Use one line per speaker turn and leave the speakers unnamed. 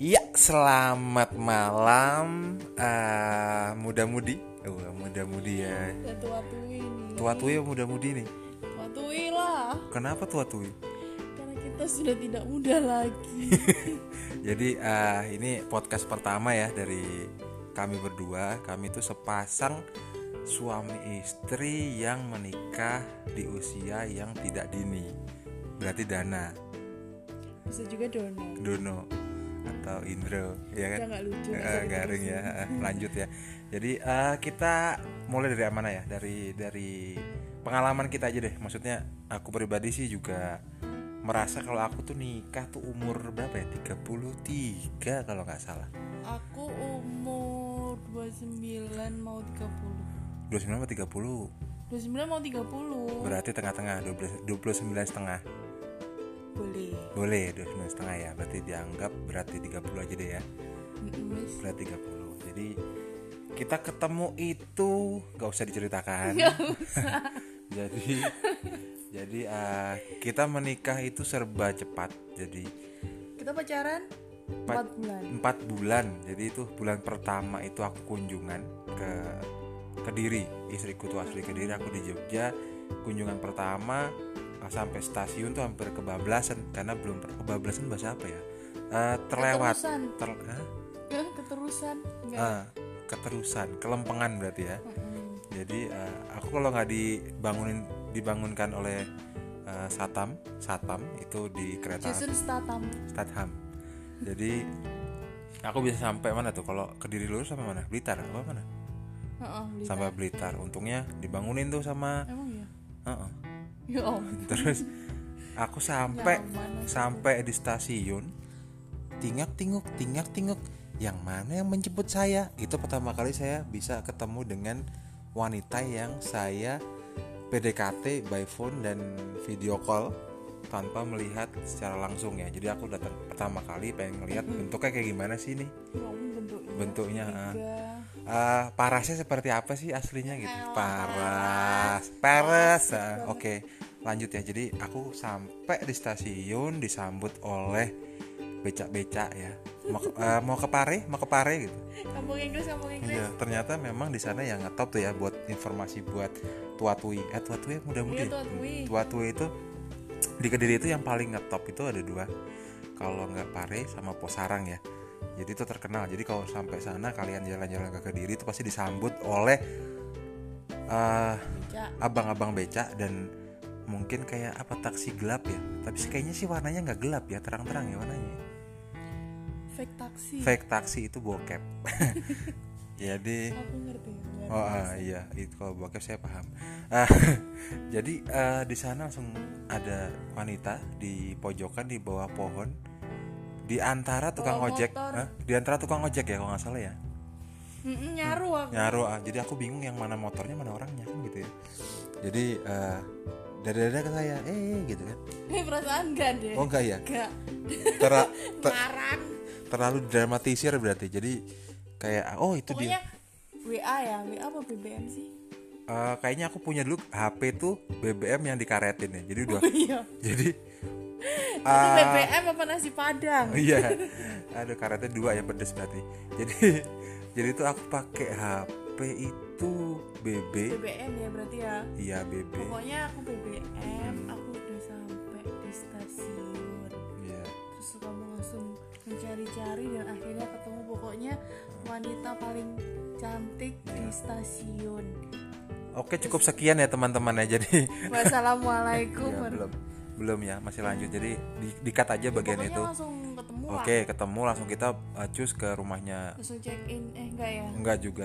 Ya, selamat malam eh, muda-mudi. Wah, muda-mudi ya.
Ya tua-tui nih.
Tua-tui apa muda-mudi nih?
Tua-tui lah.
Kenapa tua-tui?
Karena kita sudah tidak muda lagi.
Jadi eh, ini podcast pertama ya dari kami berdua. Kami itu sepasang suami istri yang menikah di usia yang tidak dini. Berarti Dana,
Bisa juga Dono.
Dono atau Indro, ya
Udah
kan?
nggak lucu. nggak
Eh,
usah
garing ya
diterusin.
Eh, lanjut ya jadi eh, kita mulai dari mana ya dari dari pengalaman kita aja deh maksudnya aku pribadi sih juga merasa kalau aku tuh nikah tuh umur berapa ya 33 kalau nggak salah
Aku umur 29 mau
29
30.
atau 30
29 mau 30.
berarti tengah-tengah 12 29 setengah
Boleh.
boleh 29 setengah ya berarti dianggap berarti 30 aja deh ya
Mm-mm, wes.
berat 30 jadi kita ketemu itu nggak usah diceritakan jadi jadi ah, kita menikah itu serba cepat jadi
Kita pacaran 4 bulan.
empat bulan jadi itu bulan pertama itu aku kunjungan ke kediri istriku tuh asli kediri aku di Jogja kunjungan pertama ah, sampai stasiun tuh hampir kebablasan karena belum per- kebablasan bahasa apa ya Eh, terlewat
Keterusan.
Ter- hah?
Ya, keterusan. Enggak.
Ah, keterusan kelempengan berarti ya
Iya. Mm-mm.
jadi eh, aku kalau nggak dibangunin dibangunkan oleh eh, satam satam itu di kereta
Jason Statham.
Statham jadi aku bisa sampai mana tuh kalau kediri lurus sampai mana Blitar apa mana
Heeh, Blitar.
sampai Blitar untungnya dibangunin tuh sama
Emang ya?
Heeh.
Ya om.
terus aku sampai
Nyaman.
sampai di stasiun tingak tinguk tingak tinguk yang mana yang menjemput saya itu pertama kali saya bisa ketemu dengan wanita yang saya PDKT by phone dan video call tanpa melihat secara langsung ya jadi aku datang pertama kali pengen ngeliat bentuknya kayak gimana sih nih
Ya om bentuknya.
bentuknya ah.
Tiga.
Eh, parasnya seperti apa sih aslinya gitu?
Elah,
Paras, paras. Ah, Oke, lanjut ya. Jadi aku sampai di stasiun disambut oleh becak-becak ya. Mau ke, eh, mau ke Pare, mau ke Pare gitu.
Kampung Inggris, kampung Inggris.
Iya, ternyata memang di sana yang ngetop tuh ya buat informasi buat tua tui. Eh tua tui mudah-mudahan.
Iya, tua tui.
Tua tui itu di Kediri itu yang paling ngetop itu ada dua. Kalau nggak Pare sama Posarang ya. Jadi itu terkenal. Jadi kalau sampai sana kalian jalan-jalan ke Kediri itu pasti disambut oleh eh,
Cak.
abang-abang becak dan mungkin kayak apa taksi gelap ya. Tapi sih kayaknya sih warnanya nggak gelap ya, terang-terang ya warnanya.
Fake taksi.
Fake taksi itu bokep. Jadi
Aku ngerti. ngerti.
Oh ah, iya, itu kalau bokep saya paham. Ah, jadi eh, di sana langsung ada wanita di pojokan di bawah pohon, di antara tukang
Bawa
ojek,
motor.
Hah? di antara tukang ojek ya kalau nggak salah ya.
Mm-mm, nyaru aku.
Nyaru, ah. jadi aku bingung yang mana motornya mana orangnya kan gitu ya. Jadi eh dari dada ke saya, eh gitu kan.
Eh perasaan gak deh.
Oh enggak ya,
Gak.
Tera- ter-
Ngarang.
terlalu dramatisir berarti. Jadi kayak oh itu dia.
Pokoknya WA ya, WA apa BBM sih?
Eh, kayaknya aku punya dulu HP tuh BBM yang dikaretin ya. Jadi udah
Oh iya.
jadi
Itu
ah,
BBM apa nasi padang?
iya aduh karetnya dua ya pedes berarti jadi jadi itu aku pakai HP itu BB
BBM ya berarti ya.
iya BB
Pokoknya aku BBM, aku udah sampai di stasiun.
iya
Terus kamu langsung mencari-cari dan akhirnya ketemu pokoknya wanita paling cantik di
Iya.
stasiun.
oke cukup sekian ya teman-teman ya jadi
Wassalamualaikum.
ya, belum belum ya masih lanjut jadi di, dikat aja bagian
Pokoknya
itu
langsung ketemu lah.
oke ketemu langsung kita acus uh, ke rumahnya
langsung check in eh enggak ya
enggak juga